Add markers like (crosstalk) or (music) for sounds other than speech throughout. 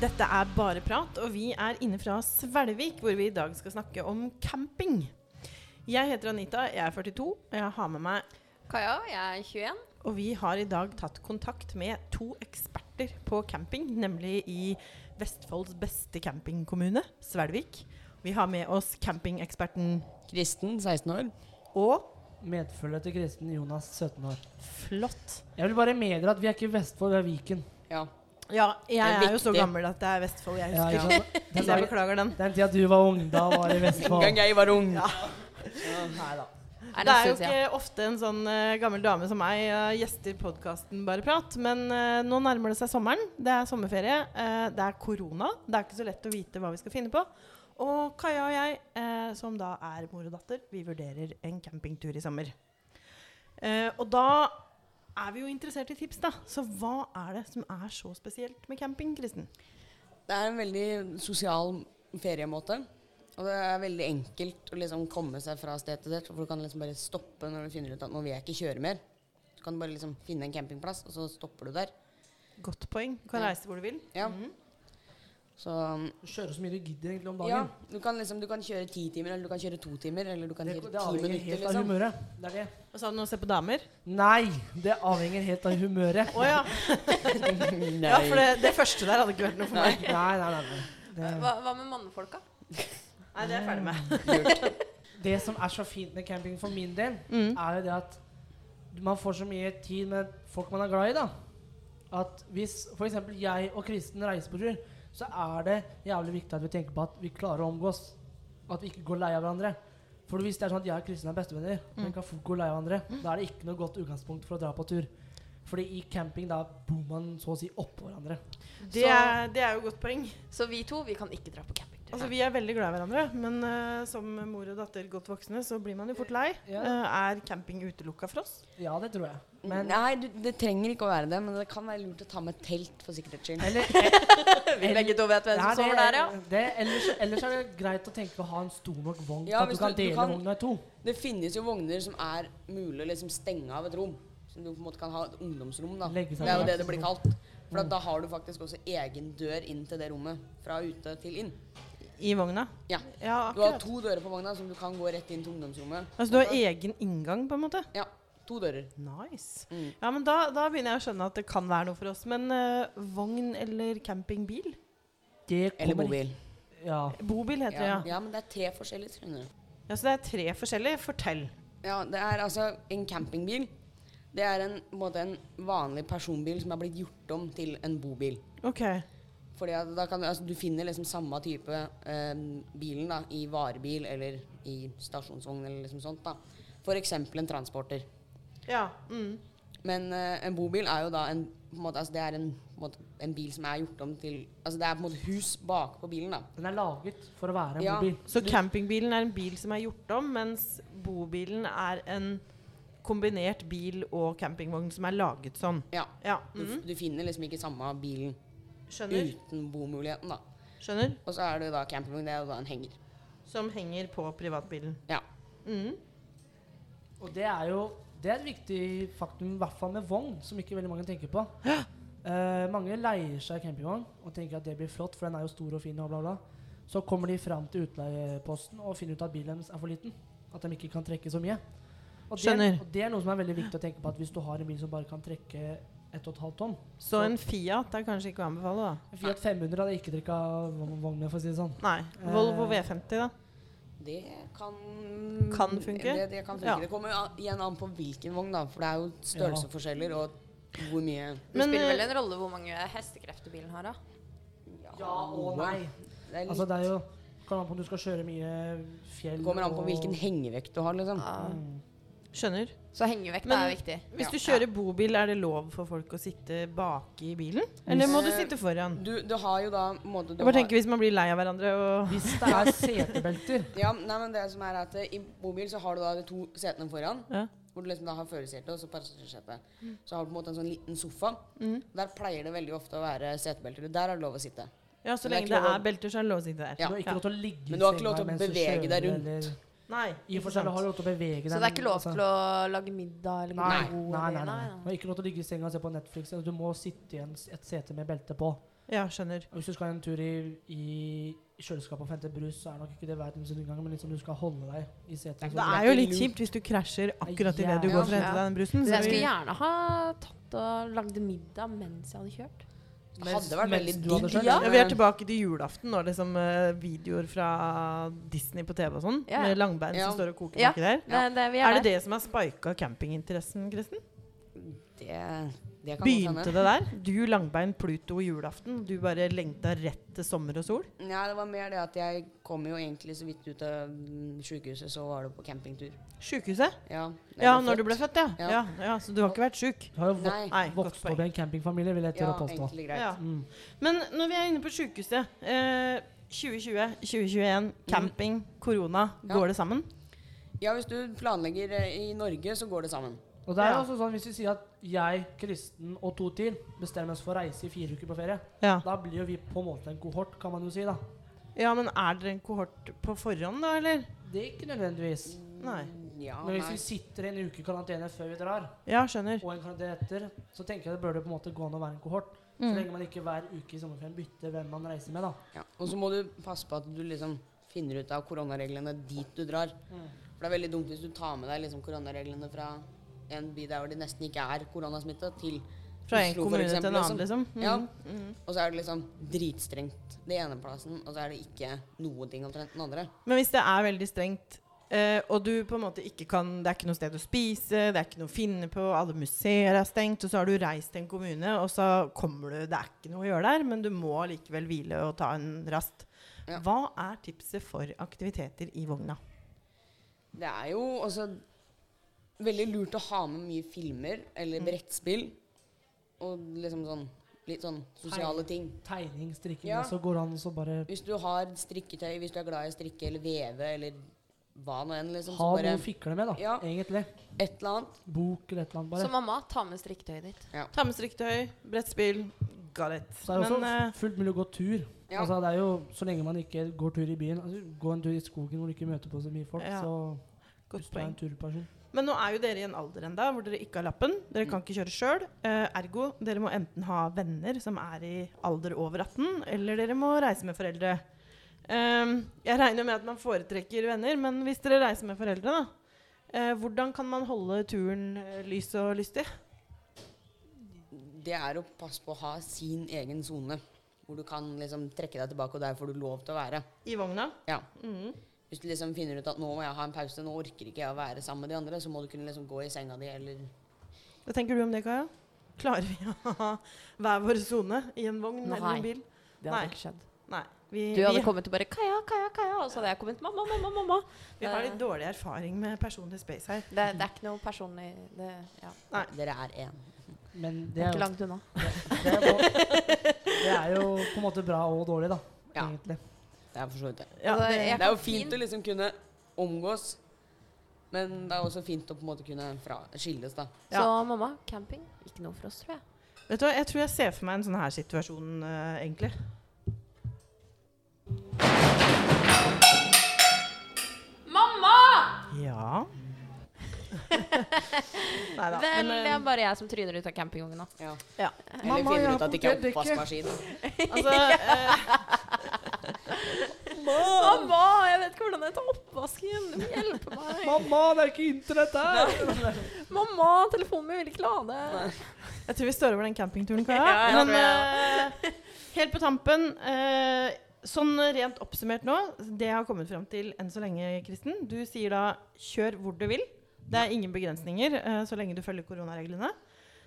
Dette er Bare prat, og vi er inne fra Svelvik, hvor vi i dag skal snakke om camping. Jeg heter Anita, jeg er 42, og jeg har med meg Kaja, jeg er 21. Og vi har i dag tatt kontakt med to eksperter på camping, nemlig i Vestfolds beste campingkommune, Svelvik. Vi har med oss campingeksperten Kristen, 16 år. og Medfølge til Kristen Jonas, 17 år. Flott. Jeg vil bare meddele at vi er ikke i Vestfold, vi er Viken. Ja. Ja, jeg Det er, er jo så viktig. gammel at det er Vestfold jeg Ja, husker. ikke sant? den, (laughs) så jeg dagen, beklager den. den tida du var ung, da var det En gang Vestfold. jeg var ung. Neida. Det er jo ikke ofte en sånn eh, gammel dame som meg eh, gjester podkasten Bare prat, men eh, nå nærmer det seg sommeren. Det er sommerferie, eh, det er korona. Det er ikke så lett å vite hva vi skal finne på. Og Kaja og jeg, eh, som da er mor og datter, vi vurderer en campingtur i sommer. Eh, og da er vi jo interessert i tips, da. Så hva er det som er så spesielt med camping, Kristen? Det er en veldig sosial feriemåte. Og det er veldig enkelt å liksom komme seg fra sted til sted. For du kan liksom bare stoppe når du finner ut at nå vil jeg ikke kjøre mer. Så kan du bare liksom finne en campingplass, og så stopper du der. Godt poeng. Du kan Ja. reise hvor du vil. Ja. Mhm. Så Du kjører så mye du gidder egentlig om ja, dagen. du kan liksom du kan kjøre ti timer, eller du kan kjøre to timer, eller du kan Det, kjøre det ti avhenger minutter, helt av liksom. (laughs) humøret. Det er det. Og så hadde du noe å se på (laughs) damer. Nei, det avhenger helt av humøret. Å ja. ja. For det, det første der hadde ikke vært noe for meg. Nei, nei, nei. nei. Det, Hva, hva med mannfolka? Nei, det er jeg ferdig med. det som er så fint med camping for min del, Mm. er jo det at man får så mye tid med folk man er glad i, da. At hvis f.eks. jeg og Kristen reiser på tur, så er det jævlig viktig at vi tenker på at vi klarer å omgås. At vi ikke går lei av hverandre. For hvis det er sånn at jeg og Kristen er bestevenner, men kan fort gå lei av hverandre, da er det ikke noe godt utgangspunkt for å dra på tur. Fordi i camping da bor man så å si oppå hverandre. Det er, det er jo et godt poeng. Så vi to, vi kan ikke dra på campingtur. Altså, Vi er veldig glad i hverandre, men eh, som mor og datter godt voksne, så blir man jo fort lei. Ja. Eh, er camping utelukka for oss? Ja, det tror jeg. Men Nei, du, det trenger ikke å være det, men det kan være lurt å ta med telt for sikkerhets skyld. eller, vi begge to vet hvem Ja, som sover det- der, ja. Det, ellers, ellers er det greit å tenke å ha en stor nok vogn Ja, til at hvis du kan du- du dele kan- vogna i to. Det finnes jo vogner som er mulig å liksom stenge av et rom. Som du på en måte kan ha et ungdomsrom, da. Det Legge seg Mm. er jo bak det et det blir rom. kalt. For at da har du faktisk også egen dør inn til det rommet. Fra ute til inn. I vogna? Ja. ja Du har akkurat. to dører på vogna som du kan gå rett inn til ungdomsrommet. Altså, du har egen inngang, på en måte? Ja, to dører. Nice. Mm. Ja, men da, da begynner jeg å skjønne at det kan være noe for oss. Men eh, vogn eller campingbil? Det Eller kommer bobil. ikke- Ja. Bobil heter det, ja. Ja. ja, men det er tre forskjellige, skjønner du. ja. Så det er tre forskjellige. Fortell. Ja, det er altså en campingbil. Det er en, på en, måte en vanlig personbil som er blitt gjort om til en bobil. OK. Fordi at da kan du, altså, du finner liksom samme type eh, bilen da, i varebil eller i stasjonsvogn eller liksom sånt. da. For eksempel en transporter. Ja. Mm. Men eh, en bobil er jo da en, på en, måte, altså, det er en, på en, måte, en bil som er gjort om til Altså det er på en måte hus bakpå bilen, da. Den er laget for å være en Ja. bobil. Så campingbilen er en bil som er gjort om, mens bobilen er en kombinert bil og campingvogn som er laget sånn. Ja. Ja. Du, mhm. du finner liksom ikke samme bilen Skjønner. Mm. uten bomuligheten, da. Skjønner. Og så er det da campingvogn. Det er jo da en henger. Som henger på privatbilen. Ja. Mhm. Og det er jo det er et viktig faktum, i hvert fall med vogn, som ikke veldig mange tenker på. Eh, mange leier seg campingvogn og tenker at det blir flott, for den er jo stor og fin. og bla bla. Så kommer de fram til utleieposten og finner ut at bilen deres er for liten. At de ikke kan trekke så mye. Og det, Skjønner. og det er noe som er veldig viktig å tenke på, at hvis du har en bil som bare kan trekke 1,5 tonn Så en Fiat er kanskje ikke å anbefale, da. En Fiat 500 hadde ikke drikka vogn med, for å si det sånn. Nei. Eh. Volvo V50, da. Det kan Kan funke? Det, det kan funke. Ja. Det kommer jo an- igjen an på hvilken vogn, da. For det er jo størrelsesforskjeller og hvor mye Det Men, spiller eh, vel en rolle hvor mange hestekrefter bilen har, da. Ja og nei. Det, er litt, Altså, det er jo Kommer an på om du skal kjøre mye fjell det kommer an på og- hvilken hengevekt du har, liksom. Skjønner. Så hengevekt Mm. Men- er viktig. Hvis Ja. du kjører bobil, er det lov for folk å sitte baki i bilen? Eller må du sitte foran? Du, du har jo da på en måte, du Jeg bare har- tenker hvis man blir lei av hverandre og Hvis det er setebelter ja, nei, men det som er at eh, I bobil så har du da de to setene foran, Ja. hvor du liksom da har førersete og så passasjersete. Mm. Så har du på en måte en sånn liten sofa. Der pleier det veldig ofte å være setebelter. Der er det lov å sitte. Ja, så Men det er lenge ikke det lov å- er belter, så er det lov å sitte der. (laughs) Ja. Du har ikke lov til å ligge i Men du har ikke lov senga til å mens du bevege kjører, deg rundt. eller- Nei. I og ikke for seg sant. har du lov til å bevege deg Så det er ikke lov altså. til å lage middag eller Nei, gå Altså, nei, nei, nei. Du har ikke lov til å ligge i senga og se på Netflix. eller Du må sitte i en, s- et sete med belte på. Ja, skjønner. Og hvis du skal en tur i, i kjøleskapet og hente brus, så er nok ikke det verdens undergang, men liksom du skal holde deg i setet. Det er jo litt kjipt hvis du krasjer akkurat idet du Ja, går for å ja. hente deg den brusen. Så så jeg skulle vi- gjerne ha tatt og lagd middag mens jeg hadde kjørt. Det hadde vært mens veldig du hadde digg. skjønt. Ja. Ja, vi er tilbake til julaften når liksom eh, videoer fra Disney på TV og sånn, Ja. med langbein Ja. som står og koker Ja. baki der. Det, det, eh, vi Er det det som har spika campinginteressen, Kristen? Det, det kan godt Begynte hende. det der? Du langbein Pluto julaften. Du bare lengta rett til sommer og sol. Nei, det var mer det at jeg kom jo egentlig så vidt ut av mm, sykehuset, så var det på campingtur. Sjukehuset? Ja, da jeg Ja, når du ble født, ja. Ja. ja. ja så du har ikke vært sjuk? Du har jo vok Nei. Nei, godt vokst opp poeng. i en campingfamilie, vil jeg Ja, tørre å påstå. egentlig greit. Ja. Mm. Men når vi er inne på sjukehuset eh, 2020, 2021, camping, korona. Ja. Går det sammen? Ja, hvis du planlegger eh, i Norge, så går det sammen. Og det er jo Ja. også sånn, Hvis vi sier at jeg, Kristen og to til bestemmer oss for å reise i fire uker på ferie, Ja. da blir jo vi på en måte en kohort, kan man jo si. da. ja, men er dere en kohort på forhånd, da, eller? Det er ikke nødvendigvis. Nei. Ja, Men hvis nei. vi sitter en uke i karantene før vi drar, Ja, skjønner. og en karantene etter, så tenker jeg det bør det på en måte gå an å være en kohort. Så lenge man ikke hver uke i sommerferien bytter hvem man reiser med. da. Ja. Og så må du passe på at du liksom finner ut av koronareglene dit du drar. Mm. For det er veldig dumt hvis du tar med deg liksom koronareglene fra en by der hvor det nesten ikke er koronasmitte, til Fra en Oslo, for kommune eksempel, altså. til en annen, liksom. Mhm. Ja. Og så er det liksom dritstrengt det ene plassen, og så er det ikke noen ting omtrent den andre. Men hvis det er veldig strengt, eh, og du på en måte ikke kan Det er ikke noe sted å spise, det er ikke noe å finne på, alle museer er stengt, og så har du reist til en kommune, og så kommer du Det er ikke noe å gjøre der, men du må likevel hvile og ta en rast. Ja. Hva er tipset for aktiviteter i vogna? Det er jo også veldig lurt å ha med mye filmer eller Mm. brettspill og liksom sånn litt sånn sosiale ting. Tegning, strikking, Ja. så går det an å så bare Hvis du har strikketøy, hvis du er glad i å strikke eller veve eller hva nå enn, liksom, ha så bare noe å fikle med, da. Ja. Egentlig. et eller annet. Bok eller et eller annet, bare. Så mamma, ta med strikketøyet ditt. Ta med strikketøy, brettspill, got it. Så er det også Men, eh, fullt mulig å gå tur. Ja. Altså, det er jo, Så lenge man ikke går tur i byen. Altså, gå en tur i skogen hvor du ikke møter på så mye folk. Ja. Så godt hvis du er poeng. en turperson. Men nå er jo dere i en alder enda hvor dere ikke har lappen. Dere kan ikke kjøre sjøl. ergo, dere må enten ha venner som er i alder over 18, eller dere må reise med foreldre. Ehm, jeg regner med at man foretrekker venner, men hvis dere reiser med foreldre, da, eh, hvordan kan man holde turen eh, lys og lystig? Det er å passe på å ha sin egen sone, hvor du kan liksom trekke deg tilbake, og der får du lov til å være. I vogna? Ja. Mhm. Hvis du liksom finner ut at nå må jeg ha en pause, nå orker ikke jeg å være sammen med de andre, så må du kunne liksom gå i senga di eller Hva tenker du om det, Kaja? Klarer vi å ha hver vår sone i en vogn eller Nei. en bil? Nei. Det hadde ikke skjedd. Nei. Vi, Du hadde vi, kommet og bare 'Kaja, Kaja, Kaja', og så hadde jeg kommet 'Mamma, mamma, mamma'. vi har litt dårlig erfaring med personlig space her. Det, det er ikke noe personlig det, ja. Nei. Dere er én. Men det det er ikke er, jo, langt unna. det, er jo, det er jo på en måte bra og dårlig, da. Ja. Egentlig. Det er for så vidt det. Ja, Altså, det, jeg Det er jo kan fint fint- å liksom kunne omgås, men det er også fint å på en måte kunne fra skilles, da. Ja. Så mamma, camping ikke noe for oss, tror jeg. Vet du hva, Jeg tror jeg ser for meg en sånn her situasjon, eh, egentlig. Mamma! (laughs) Ja Nei da. Vel, det eh, er bare jeg som tryner ut av campingvogna. Ja. Ja. Eller finner ut at det ikke er oppvaskmaskin. Altså, eh, (laughs) Mamma, jeg vet ikke hvordan jeg tar oppvasken! Du må hjelpe meg! Mamma, det er ikke internett her! (laughs) Mamma, telefonen min vil ikke lade! jeg tror vi står over den (laughs) campingturen, Ja, Kaja. jeg Men eh, helt på tampen eh, Sånn rent oppsummert nå, det jeg har kommet fram til enn så lenge, Kristen Du sier da kjør hvor du vil. Det er ingen begrensninger eh, så lenge du følger koronareglene.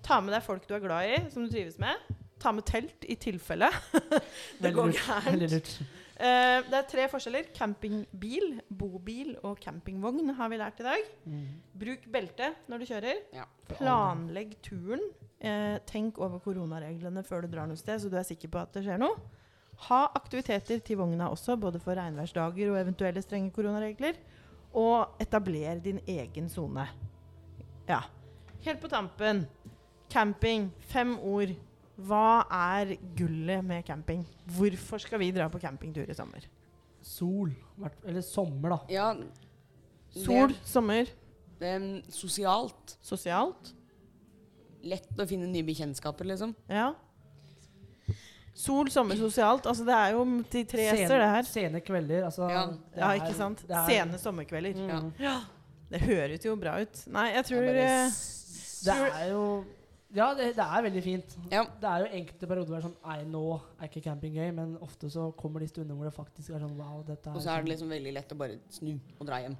Ta med deg folk du er glad i, som du trives med. Ta med telt i tilfelle (laughs) det Veldig går lurt. (laughs) gærent. Veldig lurt. Eh, det er tre forskjeller. Campingbil, bobil og campingvogn har vi lært i dag. Mm. Bruk belte når du kjører. Ja. Planlegg turen. Eh, tenk over koronareglene før du drar noe sted, så du er sikker på at det skjer noe. Ha aktiviteter til vogna også, både for regnværsdager og eventuelle strenge koronaregler. Og etabler din egen sone. Ja. Helt på tampen. Camping. Fem ord. Hva er gullet med camping? Hvorfor skal vi dra på campingtur i sommer? Sol. hvert- Eller sommer, da. ja Sol, sommer, Det, det, sosialt. sosialt. Lett å finne nye bekjentskaper, liksom. Ja. Sol, sommer, sosialt. Altså, det er jo de tre s-er, det her. Sene kvelder, altså. Ja. det Ja, er- ikke sant? det er- Sene sommerkvelder. Mm. Ja. Det høres jo bra ut. Nei, jeg tror Jeg bare eh, s- Det er jo Ja, det, det er veldig fint. Ja. Det er jo enkelte perioder hvor det er sånn Nei, nå er ikke camping gøy, men ofte så kommer de stunder hvor det faktisk er sånn Wow, dette er Og så er det liksom veldig lett å bare snu og dra hjem.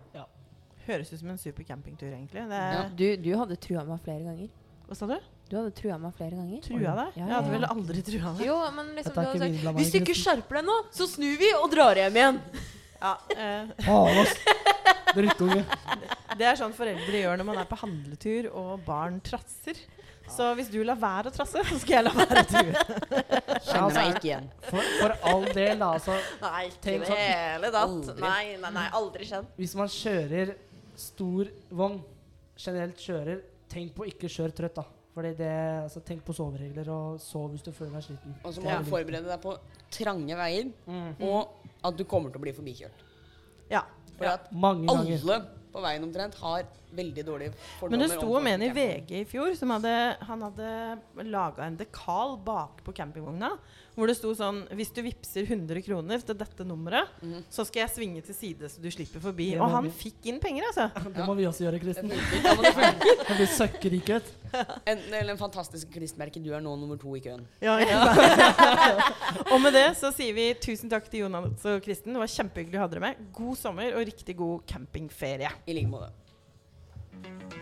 høres ut som en super campingtur, egentlig. Det Ja. er, Du, du hadde trua meg flere ganger. Hva sa du? Du hadde trua meg flere ganger. Trua deg? Ja, Jeg hadde ja. vel aldri trua deg. Jo, men liksom Dette er du ikke hadde vinbla sagt meg. Hvis du ikke skjerper deg nå, så snur vi og drar hjem igjen. Ja, eh, Faen, ass! Drittunge. det er sånn foreldre gjør når man er på handletur og barn trasser. Så hvis du lar være å trasse, så skal jeg la være å true. Ja, Kjenner altså, meg ikke igjen. For, for all del, da. Altså, Nei, ikke i Tenk det sånn. hele tatt. Aldri. Nei, nei, nei, aldri skjedd. hvis man kjører stor vogn, generelt kjører, tenk på ikke kjør trøtt, da. Fordi det, altså, Tenk på soveregler, og sov hvis du føler deg sliten. Og så Det må er du veldig- forberede deg på trange veier, Mm. og at du kommer til å bli forbikjørt. Mhm. Ja. For at Mange ganger. alle på veien omtrent har veldig dårlige fordommer. Men det sto om om en i camping. VG i fjor som hadde, han hadde laga en dekal bakpå campingvogna. Hvor det sto sånn Hvis du vippser 100 kroner til dette nummeret, så skal jeg svinge til side så du slipper forbi. Det var Og han mye. fikk inn penger, altså. Det må vi også gjøre, Kristen. Det funker. Ja, men det funker. Men vi søkker ikke ut. Enten eller (laughs) en fantastisk klistmerke. Du er nå nummer to i køen. Ja, ikke sant? (laughs) og med det så sier vi tusen takk til Jonas og Kristen. Det var kjempehyggelig å ha dere med. God sommer og riktig god campingferie. I like måte.